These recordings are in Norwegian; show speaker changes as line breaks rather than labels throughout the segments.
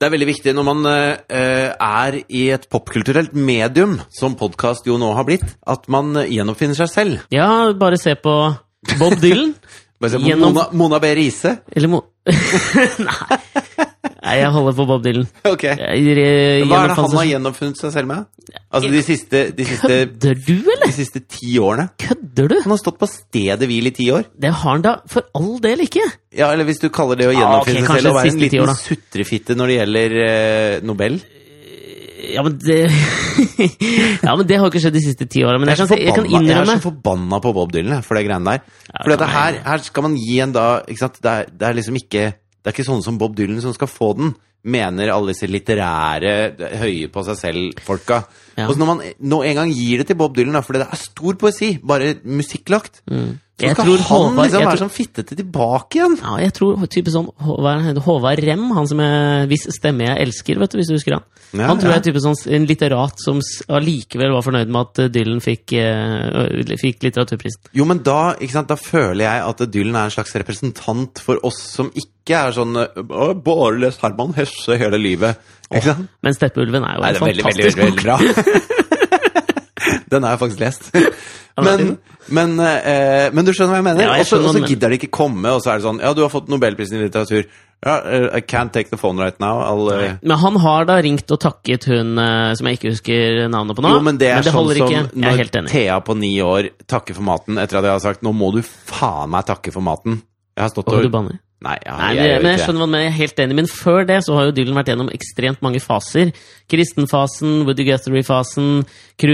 Det er veldig viktig når man eh, er i et popkulturelt medium, som podkast jo nå har blitt, at man gjenoppfinner seg selv.
Ja, bare se på Bob Dylan.
Bare se på
Gjennom-
Mona, Mona B. Riise.
Eller Mo... Nei. Nei, jeg holder på Bob Dylan.
Ok.
Jeg, jeg,
Hva er det han har
gjennomfant-
gjenoppfunnet seg selv med? Altså de siste, de siste,
Kødder du, eller?
de siste ti årene?
Kødder du?
Han har stått på stedet hvil i ti år.
Det har han da for all del ikke.
Ja, Eller hvis du kaller det å
Ja, Ah, ok,
gjenoppfinne
kanskje
seg selv, å være en
siste ti
liten
år, da.
sutrefitte når det gjelder eh, Nobel.
Ja, men det Ja, men det har ikke skjedd de siste ti åra. Men jeg kan, jeg kan
forbanna- jeg er
innrømme
så forbanna på Bob Dylan jeg, for det greiene der. For
kan
dette her, her skal man gi en da ikke sant? Det, er, det er liksom ikke Det er ikke sånne som Bob Dylan som skal få den, mener alle disse litterære, høye på seg selv-folka.
Ja.
Og så når man nå en gang gir det til Bob Dylan, da, fordi det er stor poesi, bare musikklagt, så
Mm. Jeg
skal
tror
han
Håvard-
liksom
jeg
være
tror-
sånn fittete tilbake igjen.
Ja, jeg tror type sånn Håvard, Håvard Rem, han som jeg, hvis stemme jeg elsker, vet du, hvis du husker han.
Ja,
han tror
ja.
jeg er type sånn en litterat som s- allikevel var fornøyd med at eh, Dylan fikk, eh, fikk litteraturprisen.
Jo, men da, ikke sant, da føler jeg at Dylan er en slags representant for oss som ikke er sånn «Å, Bare les Herman Hesse hele livet. Ikke sant?
Men Steppeulven er jo
Nei, det
en
er veldig, veldig,
fantastisk
veldig,
bok.
veldig bra. Den har jeg faktisk lest. Men, men, eh, men du skjønner hva jeg mener?
Ja, jeg
Og så- og
skjønner hva du
så
mener.
gidder de ikke komme, og så er det sånn Ja, du har fått Nobelprisen i litteratur. Ja, eh, I can't take the phone right now. I'll, eh,
Men han har da ringt og takket hun eh, som jeg ikke husker navnet på nå.
jo, men det er sånn
holder
som
ikke. Jeg er helt
når
enig.
Thea på ni år takker for maten etter at jeg har sagt 'Nå må du faen meg takke for maten'. Jeg har stått
Åh,
og
du banner.
Nei, ja,
Nei,
jeg,
men,
gjør
men
ikke
jeg
det.
skjønner hva du mener, jeg er helt enig. Men før det så har jo Dylan vært gjennom ekstremt mange faser. Kristenfasen, Woody Guthrie-fasen,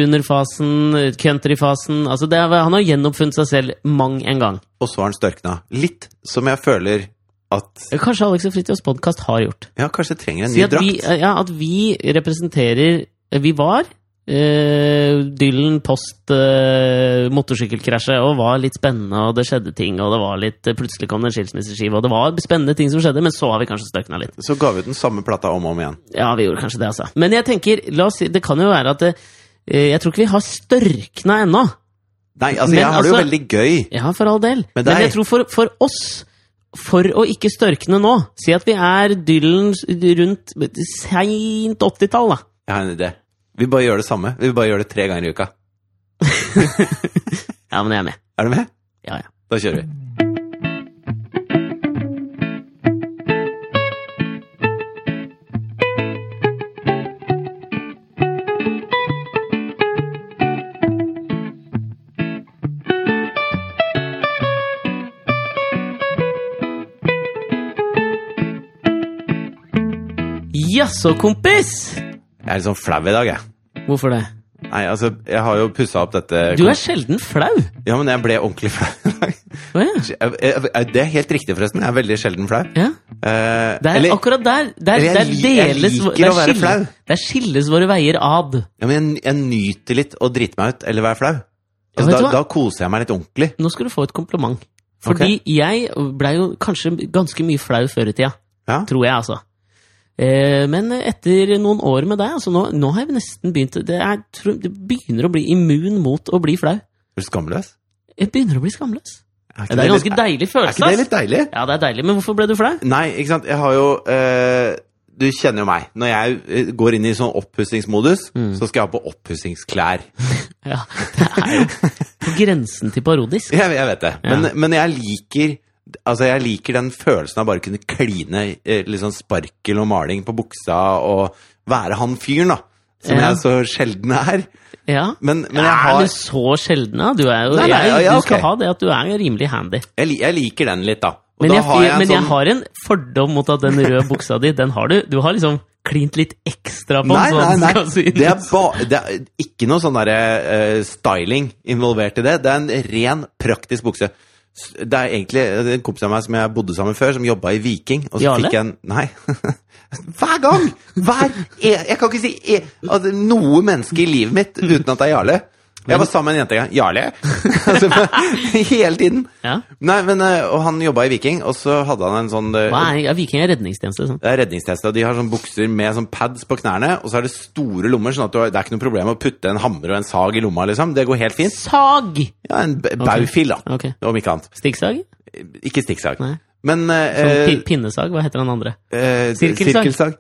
crooner-fasen, country-fasen altså det er, Han har gjennomfunnet seg selv mang en gang.
Og så har han størkna. Litt som jeg føler at
Kanskje Alex og Fridtjofs podkast har gjort.
Ja, kanskje jeg trenger en
Si
ny
at vi,
drakt.
ja, at vi representerer Vi var eh, Dylan post eh, motorsykkelkrasjet og var litt spennende, og det skjedde ting, og det var litt eh, plutselig kom det en skilsmisseskive, og det var spennende ting som skjedde, men så har vi kanskje støkna litt.
Så ga vi ut den samme plata om og om igjen.
Ja, vi gjorde kanskje det, altså. Men jeg tenker, la oss si, det kan jo være at det, eh, Jeg tror ikke vi har størkna ennå.
Nei, altså,
Men
jeg har det jo
altså-
veldig gøy.
Ja, for all del.
Med
Men,
deg.
jeg tror for, for oss, for å ikke størkne nå Si at vi er Dylan rundt seint 80-tall, da.
Jeg har en idé. Vi bare gjør det samme. Vi bare gjør det tre ganger i uka.
Ja, men jeg er med.
Er du med?
Ja, ja.
Da kjører vi.
Jaså, kompis!
Jeg er litt sånn flau i dag, jeg.
Hvorfor det?
Nei, altså, jeg har jo pussa opp dette
Du er sjelden flau.
Ja, men jeg ble ordentlig flau i dag.
Å ja.
Jeg- jeg- jeg- Det er helt riktig, forresten. Jeg er veldig sjelden flau.
ja.
Eh,
Det er
eller
akkurat der. Der,
eller jeg
der
lik- jeg
deles
liker
der
å være
skilles-
flau.
Der skilles våre veier ad.
ja, men jeg, jeg nyter litt å drite meg ut eller være flau.
Ja,
Altså,
vet du
da,
hva?
da koser jeg meg litt ordentlig.
Nå skal du få et kompliment. Fordi jeg blei jo kanskje ganske mye flau før i tida.
Ja.
Tror jeg, altså. Eh, Men etter noen år med deg, altså nå, nå har jeg nesten begynt det, er, tror- det begynner å bli immun mot å bli flau.
Er du skamløs?
Jeg begynner å bli skamløs.
Er ikke
Det er en ganske
litt-
deilig
Er
følelse.
ikke det
ass.
litt deilig?
Ja, det er deilig, men hvorfor ble du flau?
Nei, ikke sant. Jeg har jo eh, Du kjenner jo meg. Når jeg eh, går inn i sånn oppussingsmodus,
Mm.
så skal jeg ha på oppussingsklær.
Ja, det er jo på grensen til parodisk.
Jeg, jeg vet det.
Ja.
Men, men jeg liker Altså, jeg liker den følelsen av bare å kunne kline eh, litt sånn sparkel og maling på buksa og være han fyren, da. Som
Ja.
jeg så sjelden er.
Ja.
Men, men jeg
Ja,
har
men så sjelden, ja. Du, er jo,
Nei, nei,
jeg,
ja, ja,
du skal
ok.
ha det at du er rimelig handy.
jeg, li- jeg liker den litt, da. Og
Men,
da
jeg,
har jeg en
men
sånn
jeg har en fordom mot at den røde buksa di, den har du. Du har liksom klint litt ekstra på den.
Nei,
så
nei,
den
nei.
skal synes.
Det er, ba, det er ikke noe sånn der, eh, styling involvert i det. Det er en ren, praktisk bukse. S- Det er egentlig det er en kompis av meg som jeg bodde sammen før, som jobba i Viking. Og så
Jarle?
fikk jeg en Nei. Hver gang! Hver Jeg, jeg kan ikke si e- at det er noe menneske i livet mitt uten at det er Jarle. Jeg var sammen med en jente en gang. Jarle! Altså, hele tiden.
Ja.
Nei, men, eh, og han jobba i Viking, og så hadde han en sånn eh,
Hva er, ja, Viking er redningstjeneste. Sånn.
det er redningstester. De har sånn bukser med sånn pads på knærne, og så er det store lommer, sånn at du har, det er ikke noe problem å putte en hammer og en sag i lomma, liksom. Det går helt fint.
Sag!
Ja, en b- baufil, da.
Ok.
Om ikke annet.
Stikksag?
Ikke stikksag.
Nei.
Men eh,
Sånn pi- pinnesag? Hva heter den andre?
eh,
Sirkelsag.
sirkelsag.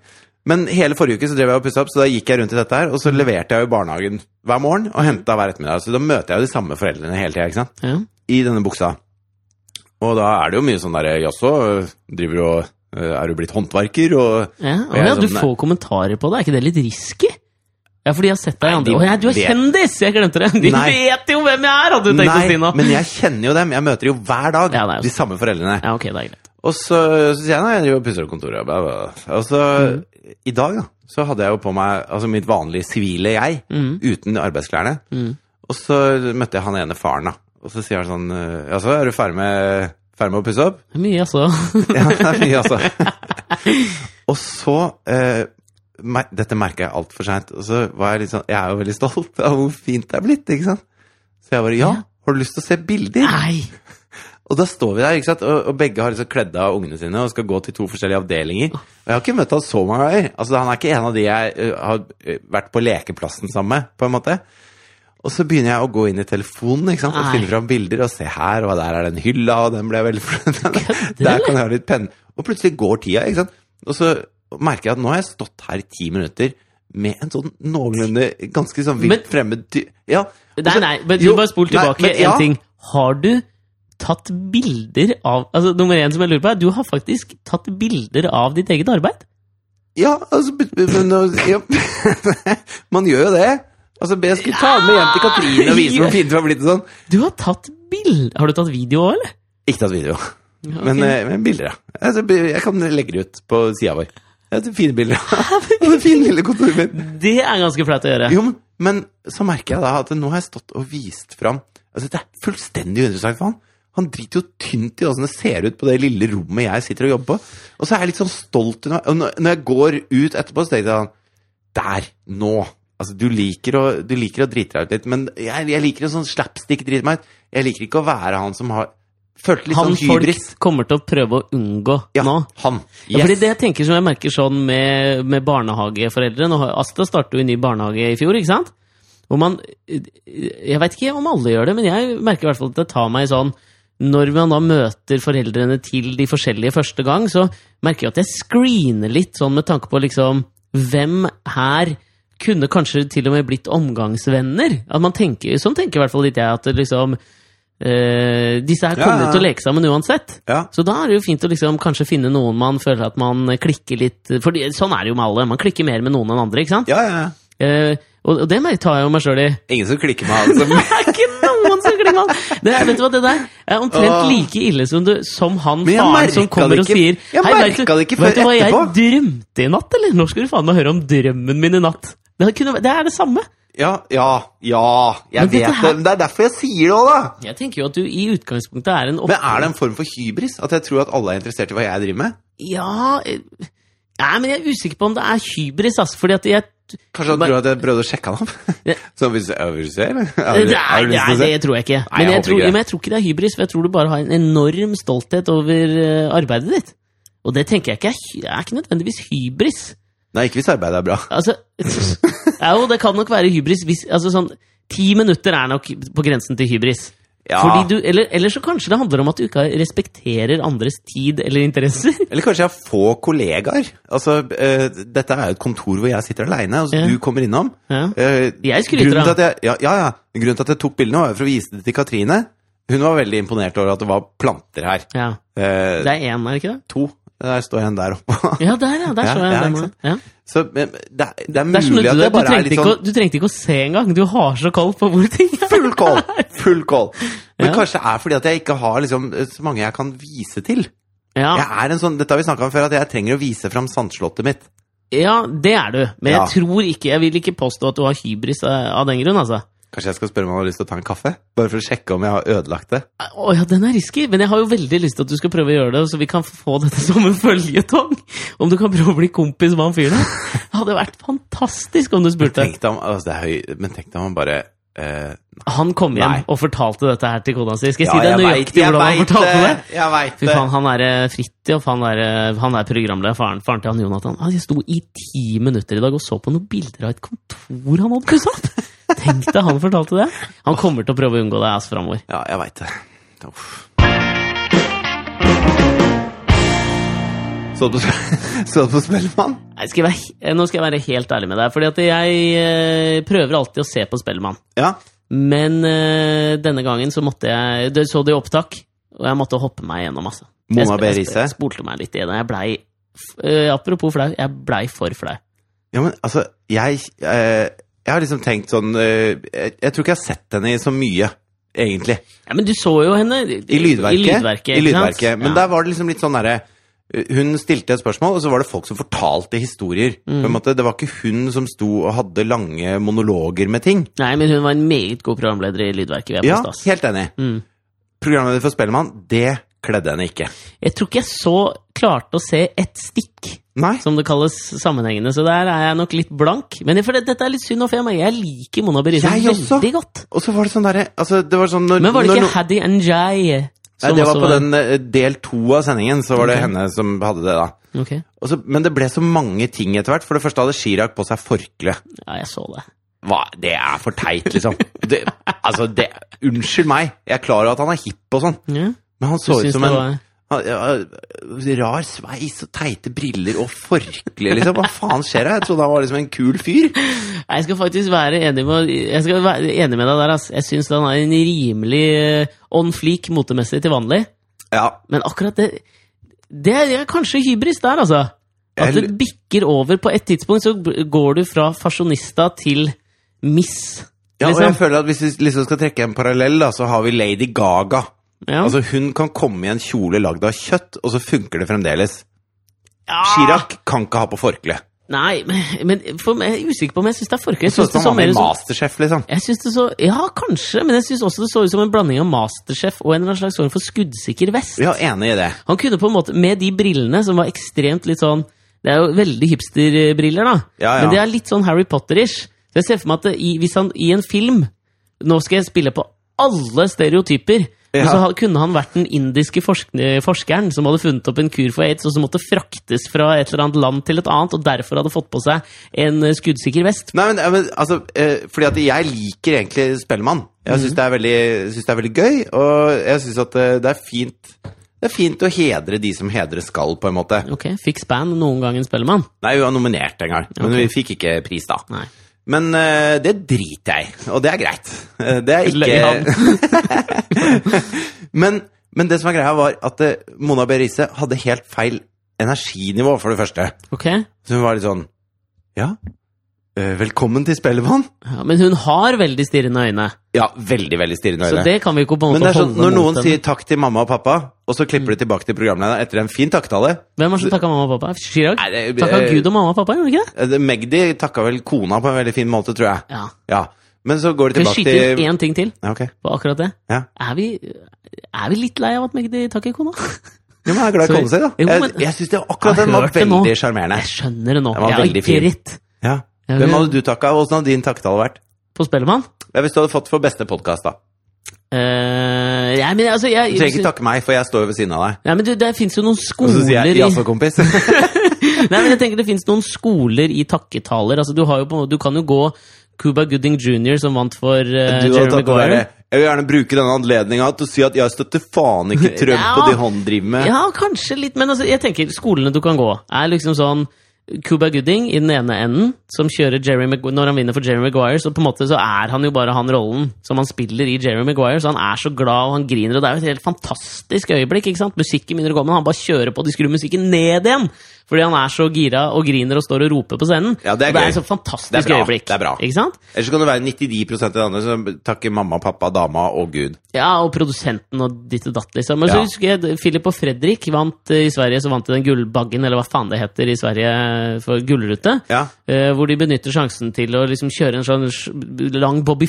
Men hele forrige uke så drev jeg og pussa opp, så da gikk jeg rundt i dette her.
Mm.
Og så leverte jeg jo i barnehagen hver morgen og henta hver ettermiddag. Så da møter jeg jo de samme foreldrene hele tida, ikke sant.
Ja.
I denne buksa. Og da er det jo mye sånn derre Jaså, driver du og øh, Er du blitt håndverker, og
Ja,
jeg
å ja,
er
du
sånn-
får kommentarer på det. Er ikke det litt risky? Ja, fordi jeg har sett deg i
Nei,
andre
de
Å ja, du er
vet-
kjendis! Jeg glemte det! De
Nei.
vet jo hvem jeg er, hadde du tenkt å si nå!
men jeg kjenner jo dem. Jeg møter jo hver dag
Ja, det er jo
de samme foreldrene.
Ja, ok, det er greit.
Og så, så sier jeg nei, jeg driver og pusser opp kontoret. bla, bla, bla. Og så
Mm.
i dag, da, så hadde jeg jo på meg altså mitt vanlige sivile jeg,
Mhm.
uten arbeidsklærne.
mm.
Og så møtte jeg han ene faren, da. Og så sier han sånn eh, Jaså, er du ferdig med, ferdig med å pusse opp?
Det er Mye, altså.
ja, det er mye, altså. og så eh, mer, Dette merka jeg altfor seint. Og så var jeg litt sånn Jeg er jo veldig stolt av hvor fint det er blitt, ikke sant? Så jeg bare Ja, har du lyst til å se bilder?
Nei!
Og da står vi der, ikke sant? Og, og begge har liksom kledd av ungene sine og skal gå til to forskjellige avdelinger. Og jeg har ikke møtt han så mange ganger. Altså, han er ikke en av de jeg ø, har ø, vært på lekeplassen sammen med, på en måte. Og så begynner jeg å gå inn i telefonen ikke sant? og
Nei.
finne fram bilder. Og se her, og der er den hylla, og den ble jeg veldig fornøyd med. Der kan jeg ha litt penn. Og plutselig går tida, ikke sant. Og så merker jeg at nå har jeg stått her i ti minutter med en sånn noenlunde ganske sånn
Men-
vilt fremmed ty... Ja. og
Nei,
så-
nei, men
Jo,
du bare spol
nei,
tilbake
men ja.
en ting. Har du tatt bilder av Altså, nummer én som jeg lurer på, er du har faktisk tatt bilder av ditt eget arbeid?
Ja, altså b- b- men, nå- ja. Man gjør jo det. Altså, Jeg skulle ta den med hjem til Katrine og vise hvor fint det var blitt. og sånn.
Du har tatt bild... Har du tatt video òg, eller?
Ikke tatt video,
Ja,
men,
ok.
eh, men bilder, ja. Altså, b- jeg kan legge det ut på sida vår. Ja, det er Fine bilder. Og det fine lille kontoret mitt.
Det er ganske flaut å gjøre.
Jo, men- men så merker jeg da at nå har jeg stått og vist fram altså, Det er fullstendig uinteressant for han. Han driter jo tynt i åssen det ser ut på det lille rommet jeg sitter og jobber på. Og så er jeg litt sånn stolt når og når- når jeg går ut etterpå, så tenker jeg sånn Der! Nå! Altså, du liker å, du liker å drite deg ut litt, men jeg, jeg liker å sånn slapstick drite meg ut. Jeg liker ikke å være han som har Følte litt
Han
sånn hybris.
folk kommer til å prøve å unngå
Ja,
nå.
han.
Ja, Fordi
Yes.
det jeg tenker som jeg merker sånn med, med barnehageforeldre Nå har- Asta startet jo i ny barnehage i fjor, ikke sant? Hvor man, jeg vet ikke om alle gjør det, men jeg merker i hvert fall at det tar meg sånn Når man da møter foreldrene til de forskjellige første gang, så merker jeg at jeg screener litt sånn med tanke på liksom Hvem her kunne kanskje til og med blitt omgangsvenner? At man tenker, Sånn tenker i hvert fall litt jeg, at det liksom eh, Disse her
Ja,
kommer
ja.
til å leke sammen uansett.
Ja.
Så da er det jo fint å liksom kanskje finne noen man føler at man klikker litt For det- sånn er det jo med alle. Man klikker mer med noen enn andre, ikke sant?
ja, ja, ja.
Eh, og, og det mer- tar jeg jo meg sjøl i.
Ingen som klikker med han som
Det er ikke noen som klikker med han! Det er, vet du hva, det der er omtrent
Åh.
like ille som, du, som han
Men jeg
faren som
merket
kommer
det
og
ikke-
sier
jeg
vet du,
merket det ikke
vet
før
du
etterpå.»
hva jeg drømte i natt, eller? Nå skal du faen meg høre om drømmen min i natt. Det, kunne, vært- det er det samme.
Ja, ja, ja. Jeg
Men dette
vet
her-
det. Men det er derfor jeg sier det òg, da.
Jeg tenker jo at du i utgangspunktet er en opp...
Men er det en form for hybris? At jeg tror at alle er interessert i hva jeg driver med?
Ja eh, Nei, men jeg er usikker på om det er hybris, altså. Fordi at jeg
Kanskje han tror at jeg prøvde å sjekke han opp?
Ja.
Så hvis jeg vil se, eller? Har
Nei,
du- har du lyst til å
det
se?
tror jeg ikke.
Nei,
Men
jeg
jeg,
håper
tror,
ikke det.
men jeg tror ikke det er hybris, for jeg tror du bare har en enorm stolthet over eh, arbeidet ditt. Og det tenker jeg ikke er, hy- er ikke nødvendigvis hybris.
Nei, ikke hvis arbeidet er bra.
Altså, ja, jo, det kan nok være hybris hvis altså, sånn, Ti minutter er nok på grensen til hybris.
Ja.
Fordi du, eller, eller så kanskje det handler om at du ikke respekterer andres tid eller interesser.
Eller kanskje jeg har få kollegaer. Altså, eh, dette er jo et kontor hvor jeg sitter aleine, og så
Ja.
du kommer innom.
Ja.
Eh,
Jeg skryter
grunnen til
av-
at jeg, ja, ja, ja. Grunnen til at jeg tok bildene, var jo for å vise det til Katrine. Hun var veldig imponert over at det var planter her.
ja.
Eh,
Det er én, er det ikke det?
to. Der står en der oppe.
Ja, der, ja. Der
Ja,
så jeg
ja,
den.
ikke
ja.
sant?
Ja.
Så men, det, er, det er
Det er som
mulig
du,
at jeg
du,
bare er
trengte
litt
ikke,
sånn
å- du trengte ikke å se engang. Du har så koll på hvor ting er.
Full kål! Full kål! Men
Ja.
kanskje det er fordi at jeg ikke har liksom, så mange jeg kan vise til.
Ja.
Jeg er en sånn, Dette har vi snakka om før, at jeg trenger å vise fram sandslottet mitt.
Ja, det er du. Men
Ja.
jeg tror ikke Jeg vil ikke påstå at du har hybris av av den grunn, altså.
Kanskje jeg skal spørre om han har lyst til å ta en kaffe? Bare for å sjekke om jeg har ødelagt det.
Å ja, den er risky, men jeg har jo veldig lyst til at du skal prøve å gjøre det, så vi kan få dette som en føljetong. Om du kan prøve å bli kompis med han fyren der. Det hadde vært fantastisk om du spurte.
Tenk deg om, altså det er høy, men tenk deg om han bare eh,
Han kom hjem
Nei.
og fortalte dette her til kona si. Skal jeg
ja,
si deg
vet-
nøyaktig hvordan han
vet eh,
fortalte det?
Jeg veit
Fy
det!
faen, han er eh, Fridtjof, han er, eh, han er programleder, faren, faren til han Jonathan. Han sto i ti minutter i dag og så på noen bilder av et kontor han hadde pusset opp! Tenk deg han fortalte det! Han kommer til å prøve å unngå det ass framover.
Ja, jeg veit det. Uff. Så du på, så du på Spellemann?
Nei, skal jeg være, he- eh, nå skal jeg være helt ærlig med deg, fordi at jeg eh, prøver alltid å se på Spellemann.
Ja.
Men eh, denne gangen så måtte jeg det- Så det i opptak, og jeg måtte hoppe meg gjennom, altså. Jeg
Mona
sp-
B.
jeg sp-
Riise?
Jeg spolte meg litt igjen. Jeg blei f- eh, Apropos flau, jeg blei for flau.
Ja, men altså, jeg eh, Jeg har liksom tenkt sånn eh, jeg, jeg tror ikke jeg har sett henne i så mye, egentlig.
Ja, men du så jo henne i
I lydverket.
I lydverket,
I
ikke sant?
lydverket. Men
ja.
der var det liksom litt sånn derre eh, Hun stilte et spørsmål, og så var det folk som fortalte historier.
Mm.
På en måte, Det var ikke hun som sto og hadde lange monologer med ting.
Nei, men hun var en meget god programleder i lydverket. vil jeg
Ja,
påstå, ass.
helt enig.
Mm.
Programleder for Spellemann, det kledde henne ikke.
Jeg tror ikke jeg så klarte å se ett stikk,
Nei.
som det kalles sammenhengende, så der er jeg nok litt blank. Men for det, dette er litt synd, nå, for jeg, merker- jeg liker Mona Berisa
Jeg også.
veldig godt.
Og så var det sånn derre altså, Det var sånn når
Men var det
når
ikke
no-
Haddy and Jai
Nei, det var
også
på den eh, del to av sendingen, så var det
Ok.
henne som hadde det, da.
Ok,
Og så, men det ble så mange ting etter hvert. For det første hadde Chirag på seg forkle.
ja, jeg så det.
Hva, det er for teit, liksom. Det, altså, det, unnskyld meg. Jeg er klar over at han er hipp og sånn,
Ja,
men han
du
så ut
syns
som
det
en
var-
han- ja, rar sveis og teite briller og forkle, liksom. Hva faen skjer her? Jeg trodde han var liksom en kul fyr.
Nei, Jeg skal faktisk være enig med, jeg skal være enig med deg der, ass. Jeg syns han er en rimelig eh, on fleak motemessig til vanlig.
Ja,
Men akkurat det Det er kanskje hybris der, altså. At
Jeg-
det bikker over. På et tidspunkt så b- går du fra fasjonista til miss.
ja og
liksom.
jeg føler at hvis vi liksom skal trekke en parallell, da, så har vi Lady Gaga.
Ja.
Altså, hun kan komme i en kjole lagd av kjøtt, og så funker det fremdeles.
Ja.
Chirag kan ikke ha på forkle.
Nei, men, men for meg, jeg er usikker på om jeg syns det er forkøy. Jeg
Så
syns
ut
det
som
så
han var
mer
med i
ut som-
Masterchef, liksom.
jeg syns det så Ja, kanskje, men jeg syns også det så ut som en blanding av Masterchef og en eller annen slags form for skuddsikker vest.
Ja, enig i det.
Han kunne på en måte, med de brillene som var ekstremt litt sånn Det er jo veldig hipsterbriller, da.
Ja, ja.
Men det er litt sånn Harry Potter-ish. Så jeg ser for meg at det, i, hvis han i en film Nå skal jeg spille på alle stereotyper. Men
Ja.
så ha- kunne han vært den indiske forsk eh, forskeren som hadde funnet opp en kur for aids, og som måtte fraktes fra et eller annet land til et annet, og derfor hadde fått på seg en eh, skuddsikker vest.
Nei, men, men altså, eh, fordi at jeg liker egentlig Spellemann. Jeg syns det, er veldig- synes det er veldig gøy, og jeg syns at eh, det er fint Det er fint å hedre de som hedre skal, på en måte.
Ok, Fikk span noen gang en spellemann?
Nei, hun var nominert en gang, men
Ok.
vi fikk ikke pris da.
Nei.
Men eh, det driter jeg i, og det er greit. Eh, Det er
Løy han.
ikke men, men det som var greia, var at eh, Mona B. Riise hadde helt feil energinivå, for det første.
Ok, ja,
Så hun var litt sånn Ja, eh, velkommen til Spellemann.
Men hun har veldig stirrende øyne,
Ja, veldig, veldig stirrende
så
øyne.
det kan vi jo ikke på en
Men
måte
det er sånn,
holde
når
mot
noen
henne.
sier takk til mamma og pappa, og så klipper du tilbake til programlederen etter en fin takktale
Hvem var det som takka mamma og pappa? Chirag?
Nei, det-
Takka
eh,
Gud og mamma og pappa, gjorde han ikke det?
eh, det- Magdi takka vel kona på en veldig fin måte, tror jeg.
Ja.
Ja. Men så går det
Skal vi
tilbake
skyte
til
inn én ting til
Ja, ok.
på akkurat det?
Ja.
Er vi, er vi litt lei av at Magdi takker kona?
Jo, men jeg er glad i
Sorry.
kona si, da.
Jo,
Jeg,
men-
jeg syns akkurat
Jeg
den var
hørte det nå.
veldig sjarmerende.
Jeg skjønner det nå.
Den var
Jeg har
veldig fin.
gritt
Ja.
Ja,
Hvem
vi-
hadde du takka? Åssen hadde din takktale vært?
på Spellemann.
Ja, hvis du hadde fått for beste podkast, da.
Eh, ja, men altså, jeg,
Du trenger ikke takke meg, for jeg står jo ved siden av deg.
ja, men du, Det fins jo noen
Og
skoler
så sier jeg
i Eh,
jaså, kompis.
Nei, men jeg tenker Det fins noen skoler i takketaler. Altså, du, har jo på, en måte- du kan jo gå Cuba Gooding jr., som vant for eh,
Du hadde
Jeremy
tatt det der.
Maguire.
Jeg vil gjerne bruke denne anledninga til å si at jeg støtter faen ikke Trump
Ja.
og det han driver med.
Ja, kanskje litt, men altså, jeg tenker skolene du kan gå, er liksom sånn Cuba Gooding i den ene enden, som kjører Jerry Magu når han vinner for Jerry Maguire, så på en måte så er han jo bare han rollen som han spiller i Jerry Maguire, så han er så glad og han griner, og det er jo et helt fantastisk øyeblikk, ikke sant? Musikken begynner å gå, men han bare kjører på, de skrur musikken ned igjen, fordi han er så gira og griner og står og roper på scenen.
Ja, det er
og det er
gøy.
et så fantastisk
Det er bra,
øyeblikk.
det er bra.
Ikke sant?
Eller så kan det være 99 av de andre som takker mamma, pappa, dama og Gud.
Ja, og produsenten og ditt og datt, liksom. Men så
Ja.
husker jeg at Philip og Fredrik vant eh, i Sverige, så vant de den gullbaggen, eller hva faen det heter i Sverige, eh, for gullrute.
Ja.
Eh, hvor de benytter sjansen til å liksom kjøre en sånn sj- lang Bobby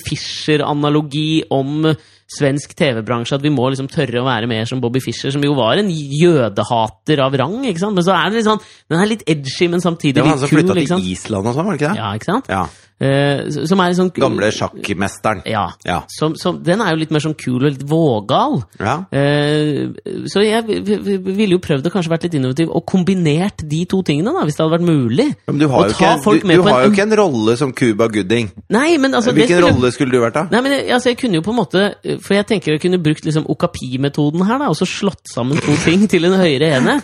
Fischer-analogi om svensk TV-bransje. At vi må liksom tørre å være mer som Bobby Fischer, som jo var en jødehater av rang. ikke sant? Men så er den litt sånn, den er litt edgy, men
Det
samtidig
var han
litt
som
kul.
flytta
ikke sant?
til Island og sånn, var det ikke det?
Ja, ikke sant?
Ja.
Eh, s- som er sånn
Gamle sjakkmesteren.
Ja.
Ja.
Som, som, den er jo litt mer sånn kul og litt vågal.
ja.
Eh, så jeg v- v- v- ville jo prøvd å kanskje vært litt innovativ og kombinert de to tingene, da, hvis det hadde vært mulig.
Men du har,
Og
jo
ta
ikke,
folk
du,
med
du
på
har jo
en-
ikke en rolle som Cuba Gooding.
Nei, men altså det
Hvilken
skulle-
rolle skulle du vært, da?
Nei, men jeg, altså, jeg kunne jo på en måte For jeg tenker jeg kunne brukt liksom okapi-metoden her, da, og så slått sammen to ting til en høyere enhet.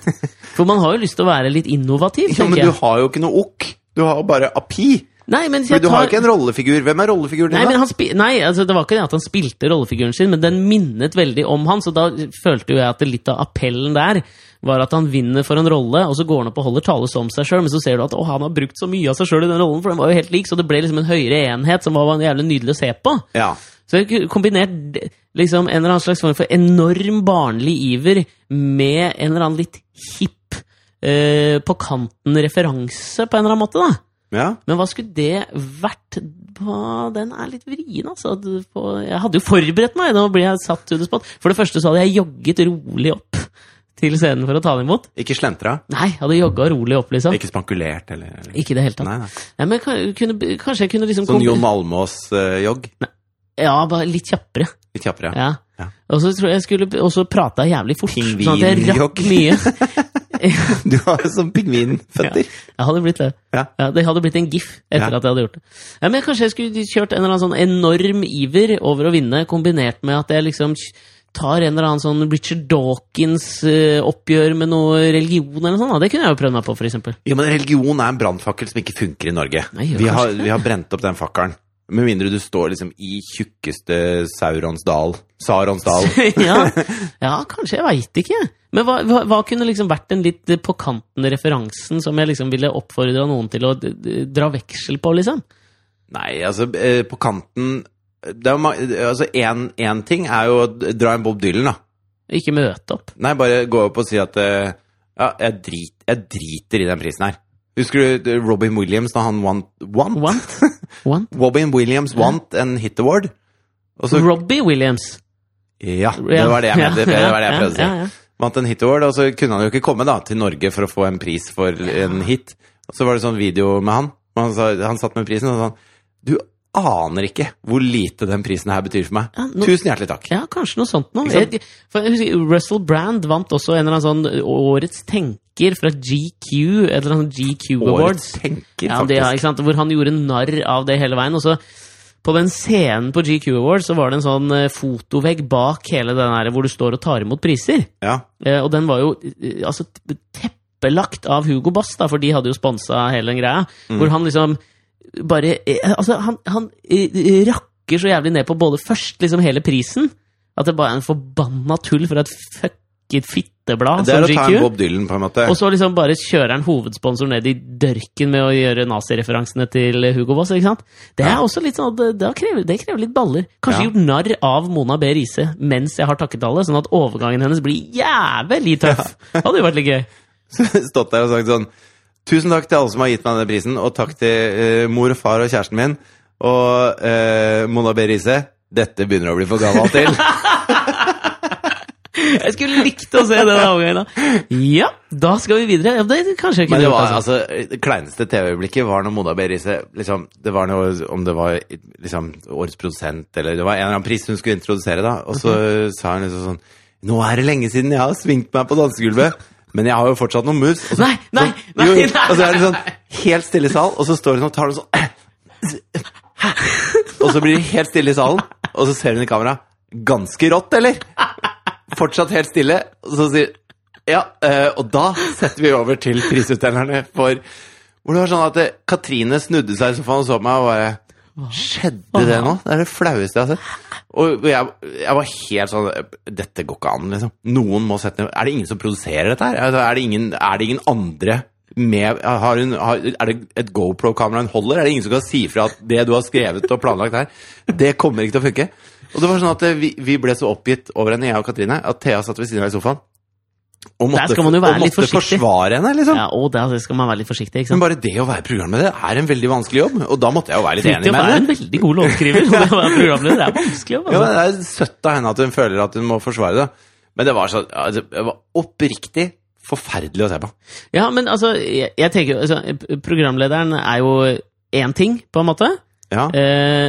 For man har jo lyst til å være litt innovativ,
Ja,
tenker
men du
jeg.
har jo ikke noe okk. Du har jo bare api.
Nei, men hvis
For
jeg
du har
tar
jo ikke en rollefigur. Hvem er rollefiguren
Nei,
din,
men
da?
han spi nei altså, det var ikke det at han spilte rollefiguren sin, men den minnet veldig om han, så da følte jo jeg at det litt av appellen der var at han vinner for en rolle, og så går han opp og holder tale som seg sjøl, men så ser du at å, han har brukt så mye av seg sjøl i den rollen, for den var jo helt lik, så det ble liksom en høyere enhet som var jævlig nydelig å se på.
Ja.
Så jeg kunne kombinert d- liksom en eller annen slags form for enorm barnlig iver med en eller annen litt hipp, eh, på kanten referanse, på en eller annen måte, da.
ja.
Men hva skulle det vært? Hva- Den er litt vrien, altså. Du får- Jeg hadde jo forberedt meg, nå blir jeg satt to the spot. For det første så hadde jeg jogget rolig opp til scenen for å ta den imot.
Ikke slentra?
Nei, jeg hadde jogga rolig opp, liksom.
Ikke spankulert, eller
Ikke i det hele tatt.
Nei, nei.
Nei, men kan- kunne, kanskje jeg kunne liksom
Sånn
kom-
Jon Almaas-jogg?
Ja, bare litt kjappere.
Litt kjappere.
Ja.
Ja.
Og så tror jeg jeg skulle Og så prata jeg jævlig fort, sånn at jeg rakk
Pingvinjogg.
mye.
Du har jo sånn pingvinføtter.
Jeg hadde blitt det.
Ja.
Ja, det hadde blitt en gif etter
Ja.
at jeg hadde gjort det. Ja, men Kanskje jeg skulle kjørt en eller annen sånn enorm iver over å vinne, kombinert med at jeg liksom kj- tar en eller annen sånn Richard Dawkins-oppgjør med noe religion eller noe sånt. da. Det kunne jeg jo prøvd meg på, for eksempel.
Jo, men religion er en brannfakkel som ikke funker i Norge.
Nei, gjør
vi, har,
kanskje det.
vi har brent opp den fakkelen. Med mindre du står liksom i tjukkeste Saurons dal. Sarons dal.
ja. ja, kanskje. Jeg veit ikke. Men hva, hva, hva kunne liksom vært den litt eh, på kanten referansen som jeg liksom ville oppfordra noen til å d d dra veksel på, liksom?
Nei, altså, eh, på kanten det er jo, ma- altså, en, en ting er jo å dra en Bob Dylan, da.
Ikke møte opp.
Nei, bare gå opp og si at eh, ja, jeg, drit, jeg driter i den prisen her. Husker du eh, Robin Williams da han vant Want?
Want? Want?
Robin Williams vant en hit award. Og så,
Robbie Williams.
ja, det var det jeg mente. Det var det jeg prøvde å si. Vant en hit award, og så kunne han jo ikke komme da til Norge for å få en pris for en hit. Og så var det sånn video med han. og Han, sa, han satt med prisen og sa sånn Du aner ikke hvor lite den prisen her betyr for meg.
Ja, nå-
Tusen hjertelig takk.
Ja, kanskje noe sånt noe.
Ikke sant?
Jeg, for jeg husker, Russell Brand vant også en eller annen sånn Årets tenker fra GQ, et eller annet GQ Awards.
Årets tenker,
Ja, det,
faktisk.
ja, ikke sant? Hvor han gjorde narr av det hele veien. Og så på den scenen på GQ Awards så var det en sånn eh, fotovegg bak hele den her hvor du står og tar imot priser.
Ja.
Eh, Og den var jo eh, altså, t- teppelagt av Hugo Boss, da, for de hadde jo sponsa hele den greia.
Mm.
Hvor han liksom bare eh, Altså, han, han eh, rakker så jævlig ned på både først liksom hele prisen At det bare er en forbanna tull fra et fucket fitteblad
Det
som
er å ta en
GQ.
Bob Dylan, på en måte.
Og så liksom bare kjører han hovedsponsor ned i dørken med å gjøre nazireferansene til Hugo Boss. ikke sant? Det er
Ja.
også litt sånn at det, det krever, det krever litt baller. Kanskje
Ja.
gjort narr av Mona B. Riise mens jeg har takket alle, sånn at overgangen hennes blir jævlig tøff! Det hadde jo vært litt gøy.
stått der og sagt sånn Tusen takk til alle som har gitt meg denne prisen, og takk til eh, mor og far og kjæresten min. Og eh, Mona B. Riise, dette begynner å bli for gammel til.
Jeg skulle likt å se den overgangen. da. Ja, da skal vi videre. Ja, det kanskje jeg
Men
kunne
det
gjort
var
altså.
altså Det kleineste TV-øyeblikket var når Mona B. Riise liksom, Det var noe om det var liksom årets produsent eller Det var en eller annen pris hun skulle introdusere, da. Og så sa hun liksom sånn Nå er det lenge siden jeg har svingt meg på dansegulvet, men jeg har jo fortsatt noen moves. Og så,
Nei, nei,
sånn,
nei,
jo,
nei.
Og så er det sånn helt stille i sal, og så står hun og tar det sånn Og så blir det helt stille i salen, og så ser hun i kamera. Ganske rått, eller? Fortsatt helt stille. Og så sier Ja, eh, og da setter vi over til prisutdelerne for Hvor det var sånn at eh, Katrine snudde seg i sofaen og så på meg og bare Skjedde det nå? Det er det flaueste jeg har sett. Og og jeg, jeg var helt sånn Dette går ikke an, liksom. Noen må sette ned Er det ingen som produserer dette her? Altså, Er det ingen, er det ingen andre med har hun, har, Er det et GoPro-kamera hun holder? Er det ingen som kan si fra at det du har skrevet og planlagt her, det kommer ikke til å funke? Og det var sånn at eh, vi, vi ble så oppgitt over henne, jeg og Katrine, at Thea satt ved siden av i sofaen. Og måtte,
Der skal man jo være
og
litt
måtte
forsiktig.
forsvare henne, liksom.
Ja, og der skal man være litt forsiktig. ikke sant?
Men bare det å være programleder er en veldig vanskelig jobb, og da måtte jeg jo være litt enig
Fridtjof
med
er en
henne.
veldig god låtskriver. og det å være programleder er vanskelig.
Ja,
Altså.
men det er søtt av henne at hun føler at hun må forsvare det. Men det var sånn altså, Det var oppriktig forferdelig å se på.
Ja, men altså, jeg, jeg tenker jo altså, p- Programlederen er jo én ting, på en måte.
Ja.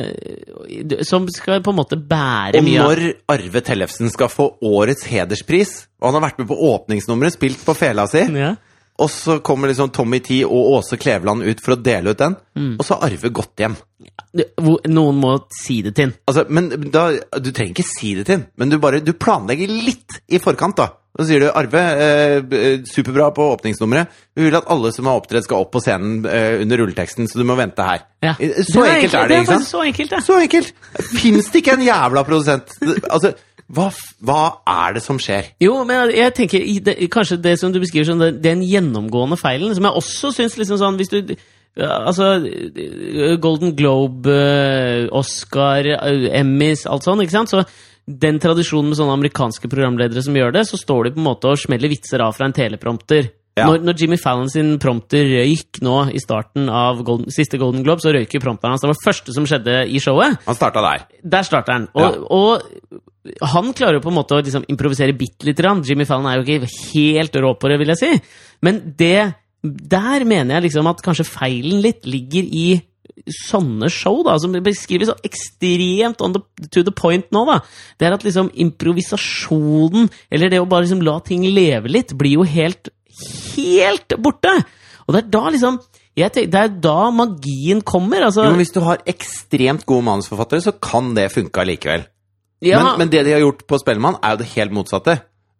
eh, som skal på en måte bære
Og
mye av
når Arve Tellefsen skal få årets hederspris, og han har vært med på åpningsnummeret, spilt på fela si,
ja.
og så kommer liksom Tommy Tee og Åse Kleveland ut for å dele ut den,
Mm.
og så har Arve gått hjem.
Du, hvor- Noen må si det til han.
Altså, men da, Du trenger ikke si det til ham, men du bare du planlegger litt i forkant. da. Så sier du 'Arve, eh, b- eh, superbra på åpningsnummeret. Vi vil at alle som har opptredd, skal opp på scenen eh, under rulleteksten, så du må vente her'.
Ja.
I- Så enkelt er det,
er
ikke sant?
faktisk Så enkelt, ja.
Så enkelt! Fins det ikke en jævla produsent? Altså, hva, f- hva er det som skjer?
Jo, men jeg tenker i det, kanskje det som du beskriver som den, den gjennomgående feilen, som jeg også syns liksom sånn Hvis du ja, Altså eh, Golden Globe, eh, Oscar, eh, Emmys, alt sånn, ikke sant? Så den tradisjonen med sånne amerikanske programledere som gjør det, så står de på en måte og smeller vitser av fra en teleprompter.
Ja.
Når, når Jimmy Fallon sin prompter røyk nå i starten av Golden, siste Golden Globe, så røyk jo prompteren hans. Det var det første som skjedde i showet.
Han starta der.
Der starter han. Og, og han klarer jo på en måte å liksom improvisere bitte lite grann. Jimmy Fallon er jo ikke helt rå på det, vil jeg si. Men det Der mener jeg liksom at kanskje feilen litt ligger i sånne show, da, som beskrives så ekstremt on the, to the point nå, da. Det er at liksom improvisasjonen, eller det å bare liksom la ting leve litt, blir jo helt, helt borte. Og det er da liksom jeg tenker, Det er da magien kommer. altså...
Jo, men Hvis du har ekstremt gode manusforfattere, så kan det funke allikevel.
ja.
Men, men det de har gjort på Spellemann, er jo det helt motsatte.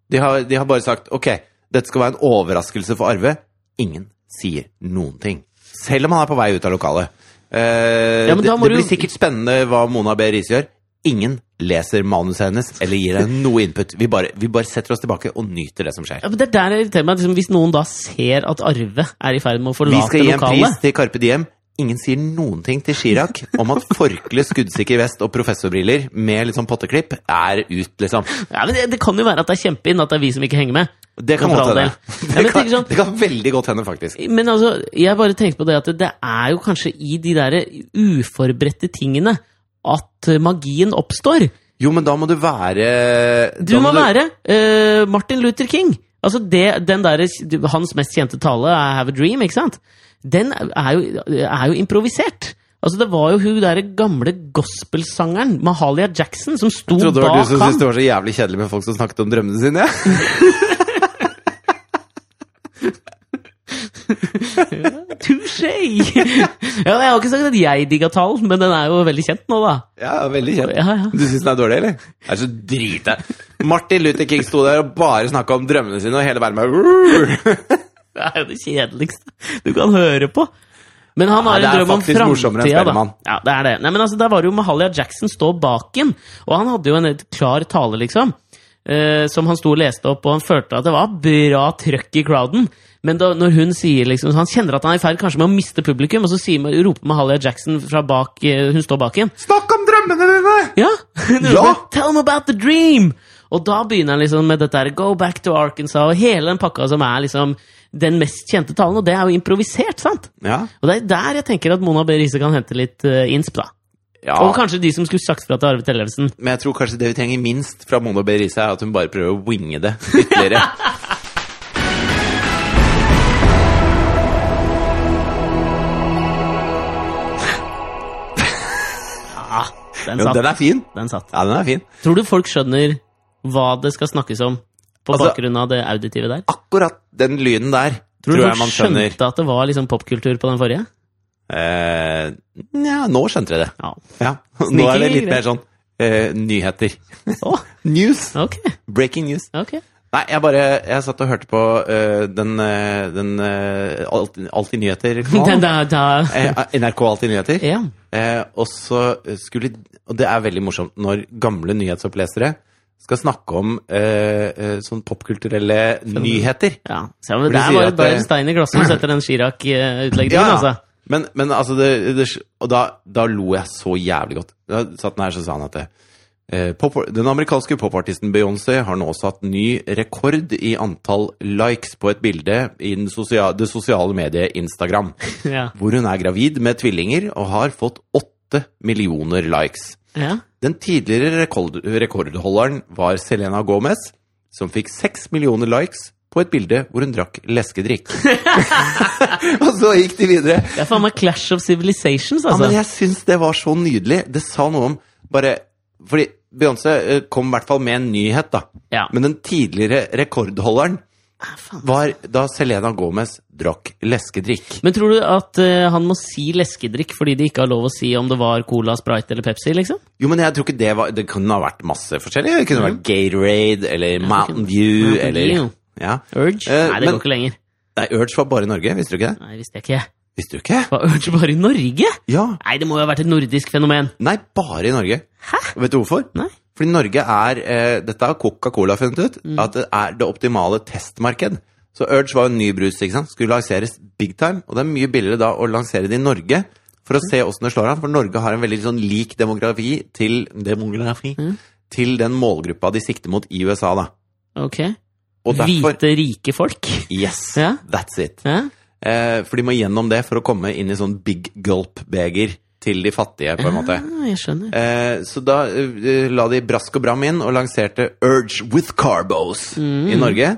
De har, de har bare sagt ok, dette skal være en overraskelse for Arve. Ingen sier noen ting. Selv om han er på vei ut av lokalet. Eh,
Ja, men
det,
da må
det
du-
blir sikkert spennende hva Mona B. Riise gjør. Ingen leser manuset hennes eller gir henne noe input. Vi bare, vi bare setter oss tilbake og nyter det som skjer.
Ja, men det er der jeg irriterer meg. Liksom, hvis noen da ser at Arve er i ferd med å
Vi
forlate
skal gi en pris
lokalet
til Carpe Diem. Ingen sier noen ting til Chirac om at forkle, skuddsikker vest og professorbriller med litt sånn potteklipp er ut, liksom.
ja, men det, det kan jo være at det er kjempeinn at det er vi som ikke henger med.
Det kan
Men for
godt
all
hende.
del. Ja,
Det,
men
kan-
tenk sånn-
det kan veldig godt hende, faktisk.
Men altså, jeg bare tenkte på det at det er jo kanskje i de der uforberedte tingene at magien oppstår.
Jo, men da må du være
Du
da
må være eh, Martin Luther King. Altså det, den der, Hans mest kjente tale er 'Have a Dream', ikke sant? Den er jo, er jo improvisert. Altså Det var jo hun derre gamle gospelsangeren Mahalia Jackson som sto
Trodde det
bak
var du som
ham.
syntes det var så jævlig kjedelig med folk som snakket om drømmene sine? Ja.
Touché! ja, jeg har ikke sagt at jeg digga talen, men den er jo veldig kjent nå, da.
ja, veldig kjedelig.
Ja, ja.
Du syns den er dårlig, eller? Det er så drita. Martin Luther King sto der og bare snakka om drømmene sine, og hele verden bare
Det er jo det kjedeligste du kan høre på. Men han har
Ja, det
en
er
drøm om
faktisk morsommere enn
framtida, da.
Spellemann.
Ja, det er det. Nei, men altså, der var det jo Mahalia Jackson stå bak ham, og han hadde jo en helt klar tale, liksom. eh, som han sto og leste opp, og han følte at det var bra trøkk i crowden. Men da, når hun sier liksom, så Han kjenner at han er i ferd kanskje med å miste publikum, og så sier, roper Mahalia Jackson fra bak eh, Hun står bak ham.
Snakk om drømmene dine!
Ja!
Ja!
Tell them about the dream! Og da begynner han liksom med dette her, Go back to Arkansas og hele den pakka som er liksom den mest kjente talen, og det er jo improvisert, sant?
Ja.
Og det er der jeg tenker at Mona B. Riise kan hente litt eh, innsp, da.
ja.
Og kanskje de som skulle sagt fra til Arve Tellefsen.
Men jeg tror kanskje det vi trenger minst fra Mona B. Riise, er at hun bare prøver å winge det ytterligere.
Ah, den
Jo,
satt.
den er fin.
Den satt.
Ja, den er fin.
Tror du folk skjønner hva det skal snakkes om på
Altså-
bakgrunn av det auditive der?
Akkurat den lyden der tror,
du
jeg man
folk
skjønner.
skjønte at det var liksom popkultur på den forrige?
Eh, ja, nå skjønte jeg det.
Ja.
Ja. Nå
Sneaking
er det litt
greier.
mer sånn eh, nyheter.
Å,
News!
ok.
Breaking news.
ok.
Nei, jeg bare Jeg satt og hørte på eh, den, eh, den eh, Alltid, alltid
Den
Nyheter-kanalen.
da, da.
Eh, NRK Alltid Nyheter.
Ja.
Eh, og så skulle Og det er veldig morsomt når gamle nyhetsopplesere skal snakke om eh, eh, sånn popkulturelle nyheter.
Ja, så
Vil
men
du
Der
si
var
at
det bare
det-
stein i glasset som setter den Chirac-utlegningen. altså.
Men, men altså det, det, Og da, da lo jeg så jævlig godt. Da satt han her, så sa han at det, eh, pop, Den amerikanske popartisten Beyoncé har nå satt ny rekord i antall likes på et bilde i den sosia, det sosiale mediet Instagram.
Ja.
Hvor hun er gravid med tvillinger og har fått åtte millioner likes.
Ja.
Den tidligere rekord, rekordholderen var Selena Gomez, som fikk seks millioner likes på et bilde hvor hun drakk leskedrikk. og så gikk de videre.
Det er faen meg Clash of Civilizations,
Ja,
altså.
men jeg syns det var så nydelig. Det sa noe om bare Fordi Beyoncé eh, kom i hvert fall med en nyhet, da.
Ja. Ah,
Men den tidligere rekordholderen var da Selena Gomez drakk leskedrikk.
Men tror du at eh, han må si leskedrikk fordi de ikke har lov å si om det var Cola, Sprite eller Pepsi? liksom?
Jo, men jeg tror ikke det var Det kunne ha vært masse forskjellig. Det kunne vært Gatorade eller Mountain
Mm. kunne-
View
Mountain
eller
Dew.
ja.
Urge?
Eh,
Nei, det
men-
går ikke lenger.
Nei, Urge var bare i Norge, visste du ikke det?
Nei, visste jeg ikke.
Visste du ikke?
Var Urge bare i Norge?
Ja.
Nei, det må jo ha vært et nordisk fenomen.
Nei, bare i Norge. Hæ? Vet du hvorfor?
Nei.
Fordi Norge er eh, Dette har Coca-Cola funnet ut.
Mm.
At det er det optimale testmarked. Så Urge var jo en ny brus. ikke sant? Skulle lanseres big time. Og det er mye billigere da å lansere det i Norge for å
Mm.
se åssen det slår an. For Norge har en veldig sånn lik demografi til Demografi?
Mm.
Til den målgruppa de sikter mot i USA, da.
Ok.
Og derfor
Hvite, rike folk?
Yes!
Ja.
That's it.
Ja?
Eh, for de må gjennom det for å komme inn i sånn big gulp-beger til de fattige, på en måte.
Ah, jeg skjønner.
Eh, så da eh, la de brask og bram inn og lanserte Urge with Carbos
Mm.
i Norge.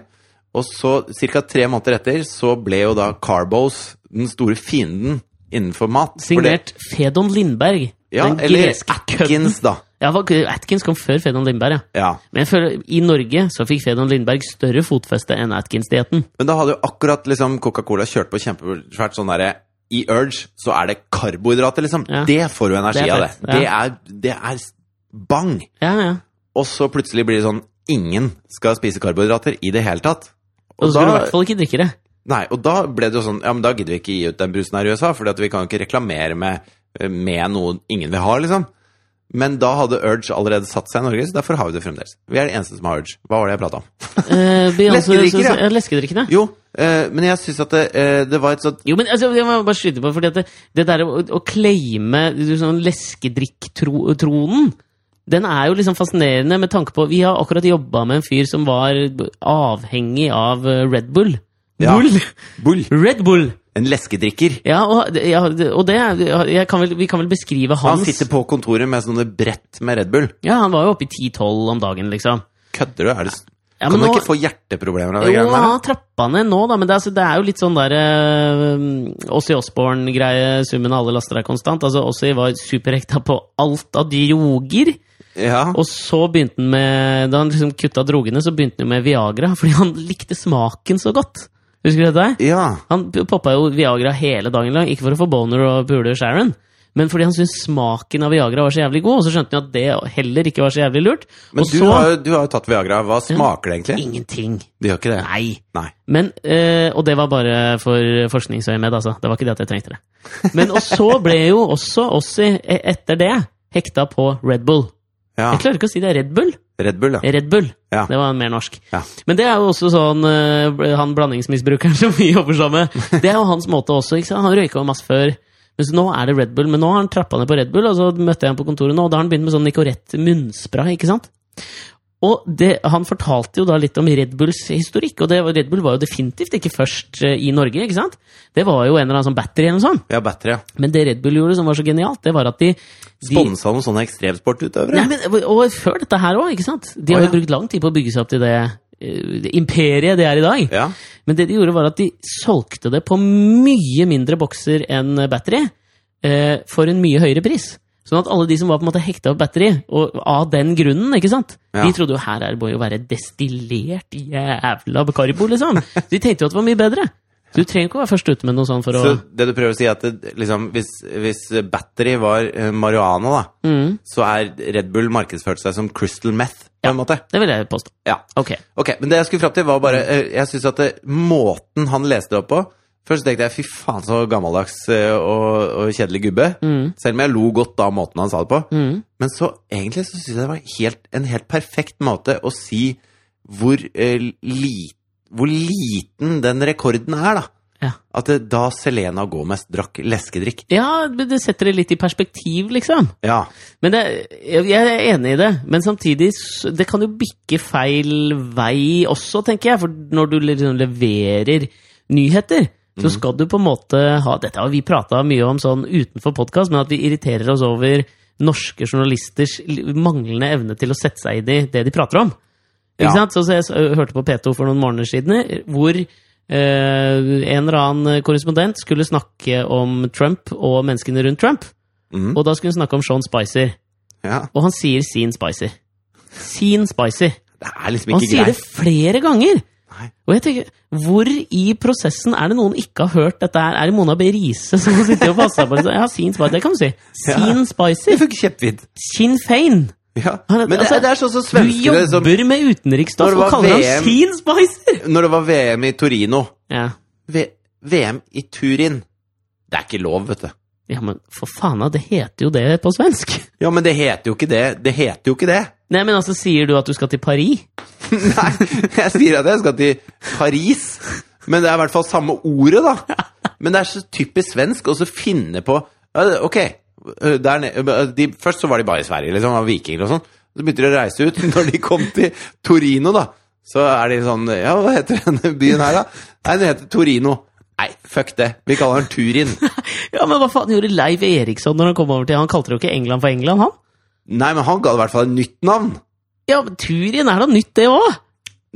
Og så ca. tre måneder etter så ble jo da Carbos den store fienden innenfor mat. For det-
Signert Fedon Lindberg.
ja,
den
eller
greske kødden.
Atkins, da.
Ja, hva- Atkins kom før Fedon Lindberg, ja.
Ja.
Men jeg føler, i Norge så fikk Fedon Lindberg større fotfeste enn Atkins-dietten.
Men da hadde jo akkurat liksom Coca-Cola kjørt på kjempesvært sånn derre I Urge så er det karbohydrater, liksom.
Ja.
Det får du energi
Det er
av, det.
fett, ja.
Det, er, det er s- bang!
Ja, ja.
Og så plutselig blir det sånn Ingen skal spise karbohydrater i det hele tatt.
Og så skulle du i hvert fall ikke drikke det.
Nei, og da ble det jo sånn Ja, men da gidder vi ikke gi ut den brusen her i USA, for vi kan jo ikke reklamere med, eh, med noe ingen vil ha, liksom. Men da hadde Urge allerede satt seg i Norge, så derfor har vi det fremdeles. Vi er de eneste som har Urge. Hva var det jeg prata om?
Eh, Beyoncé-
Leskedrikker, ja.
ja. Leskedrikkene.
Jo, eh, men jeg syns at det, eh, det var et sånt
Jo, men altså, jeg må bare skyte på, fordi at det, det der å, å claime du, sånn leskedrikk-tronen den er jo liksom fascinerende med tanke på Vi har akkurat jobba med en fyr som var avhengig av eh, Red Bull.
Ja.
Bull!
Bull.
Red Bull!
En leskedrikker.
Ja, og, ja, og det er- jeg kan vel, Vi kan vel beskrive
Han
hans
sitter på kontoret med sånne brett med Red Bull.
Ja, Han var jo oppe i 10-12 om dagen, liksom.
Kødder du? Er det, s-
Ja,
kan
men
du
nå-
ikke få hjerteproblemer av de
Jo,
greiene
han
her?
har trappa ned nå, da, men det er, altså- det er jo litt sånn der uh, Ossi Osborn-greie. Summen av alle laster er konstant. Altså, Ossi var superhekta på alt av droger.
Ja.
Og så begynte han med Da han liksom kutta drogene, så begynte han jo med Viagra, fordi han likte smaken så godt. Husker du dette? her?
ja.
Han poppa jo Viagra hele dagen lang, ikke for å få boner og pule Sharon. Men fordi han syntes smaken av Viagra var så jævlig god, og så skjønte han at det heller ikke var så jævlig lurt.
Men
og
du,
så
har, jo- du har jo tatt Viagra. Hva smaker det egentlig?
Ingenting.
Det gjør ikke det?
Nei.
Nei.
Men, eh, og det var bare for forskningsøyemed, altså. Det var ikke det at jeg trengte det. Men og så ble jo også Ossi e- etter det hekta på Red Bull.
Ja.
Jeg klarer ikke å si det. Red Bull?
Red Bull, ja.
Red Bull.
Ja.
Det var mer norsk.
Ja.
Men det er jo også sånn eh, bl- Han blandingsmisbrukeren som vi jobber sammen med, det er jo hans måte også. ikke sant? Han røyka jo masse før. Men så nå er det Red Bull, men nå har han trappa ned på Red Bull, og så møtte jeg ham på kontoret nå, og da har han begynt med sånn Nicorette munnspray, ikke sant? Og det, han fortalte jo da litt om Red Bulls historikk, og det, var- Red Bull var jo definitivt ikke først eh, i Norge, ikke sant? Det var jo en eller annen sånn battery eller noe sånt.
Ja, battery, ja.
Men det Red Bull gjorde som var så genialt, det var at de, de
Sponsa noen sånne ekstremsportutøvere?
Nei, men, og- og før dette her òg, ikke sant? De har
Å,
jo
ja.
brukt lang tid på å bygge seg opp til det, eh, det imperiet det er i dag.
Ja.
Men det de gjorde, var at de solgte det på mye mindre bokser enn battery eh, for en mye høyere pris. Sånn at alle de som var på en måte hekta opp battery, og av den grunnen, ikke sant?
Ja.
De trodde jo her er det bare å være destillert jævla Caribo, liksom. Så de tenkte jo at det var mye bedre. Så du trenger ikke å være først ute med noe sånt for å
Så det du prøver å si er at det, liksom, hvis, hvis battery var eh, marihuana, da,
Mm.
så er Red Bull markedsført seg som crystal meth, på en måte.
Det vil jeg påstå.
Ja.
Ok.
Ok, men det jeg skulle fram til, var bare eh, Jeg syns at det, måten han leste det opp på Først tenkte jeg fy faen så gammeldags eh, og, og kjedelig gubbe.
Mm.
Selv om jeg lo godt av måten han sa det på. Men så egentlig så syns jeg det var helt, en helt perfekt måte å si hvor, eh, li, hvor liten den rekorden er, da.
Ja.
At det, da Selena Gomez drakk leskedrikk
Ja, men det setter det litt i perspektiv, liksom.
Ja.
Men det, jeg er enig i det, men samtidig s- det kan jo bikke feil vei også, tenker jeg. For når du liksom leverer nyheter, så skal du på en måte ha Dette har vi prata mye om sånn utenfor podkast, men at vi irriterer oss over norske journalisters l- manglende evne til å sette seg inn i det de prater om.
Ja.
Ikke sant? Så, så jeg s- hørte på P2 for noen måneder siden, hvor eh, en eller annen korrespondent skulle snakke om Trump og menneskene rundt Trump.
Mm.
Og da skulle hun snakke om Sean Spicer.
Ja.
Og han sier sin Spicer. Sin Spicer.
Det er liksom
Han
ikke
sier det
greit.
flere ganger!
Nei.
Og jeg tenker, Hvor i prosessen er det noen ikke har hørt dette her? Er det Mona B. Riise som sitter og passer på? det? Ja, sin Spicer, det kan du si. Sin
Det
Spicer.
funker kjempefint.
Sin Fein.
Ja.
Han-
Men det,
altså,
det er sånn som
Du
svenskene som
jobber med
Når
utenriksstoff
det
og
var
kaller ham
VM.
sin Spicer!
Når det var VM i Torino
Ja.
v VM i Turin. Det er ikke lov, vet du.
ja, men for faen, da, det heter jo det på svensk.
Ja, men det heter jo ikke det. Det heter jo ikke det.
Nei, men altså, sier du at du skal til Paris?
Nei, jeg sier at jeg skal til Paris, men det er i hvert fall samme ordet, da. Men det er så typisk svensk å så finne på ja, det- Ok, øh, der nede øh, de, Først så var de bare i Sverige, liksom, var vikinger og sånn. Så begynte de å reise ut. Når de kom til Torino, da, så er de sånn Ja, hva heter denne byen her, da? Nei, den heter Torino. Nei, fuck det. Vi kaller den Turin.
Ja, men hva faen gjorde Leif Eriksson når han kom over til Han kalte det jo ikke England for England, han?
Nei, men han ga det i hvert fall et nytt navn.
Ja, men Turin er da nytt, det òg!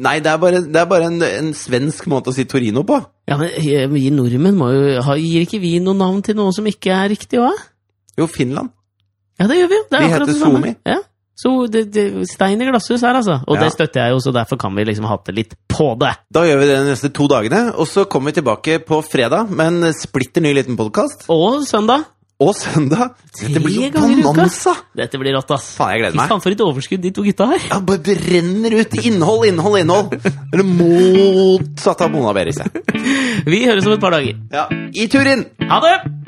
Nei, det er bare, det er bare en, en svensk måte å si Torino på.
Ja, men eh, vi nordmenn må jo ha, Gir ikke vi noe navn til noe som ikke er riktig òg?
Jo, Finland.
Ja, det gjør vi jo! Det er
Vi
akkurat
heter
det samme.
Suomi.
Ja. Så det, det, stein i glasshus her, altså. Og
Ja.
det støtter jeg jo, så derfor kan vi liksom hate litt på det.
Da gjør vi det de neste to dagene, og så kommer vi tilbake på fredag med en splitter ny liten podkast.
Og søndag
Og søndag. Dette blir jo
Tre ganger i uka.
bonanza!
Dette blir rått, ass.
Faen, jeg gleder
Fy
meg.
faen, for et overskudd de to gutta har.
Jeg bare brenner ut innhold, innhold, innhold! Eller motsatt av Mona Berise.
Vi høres om et par dager.
Ja. I Turin!
Ha det!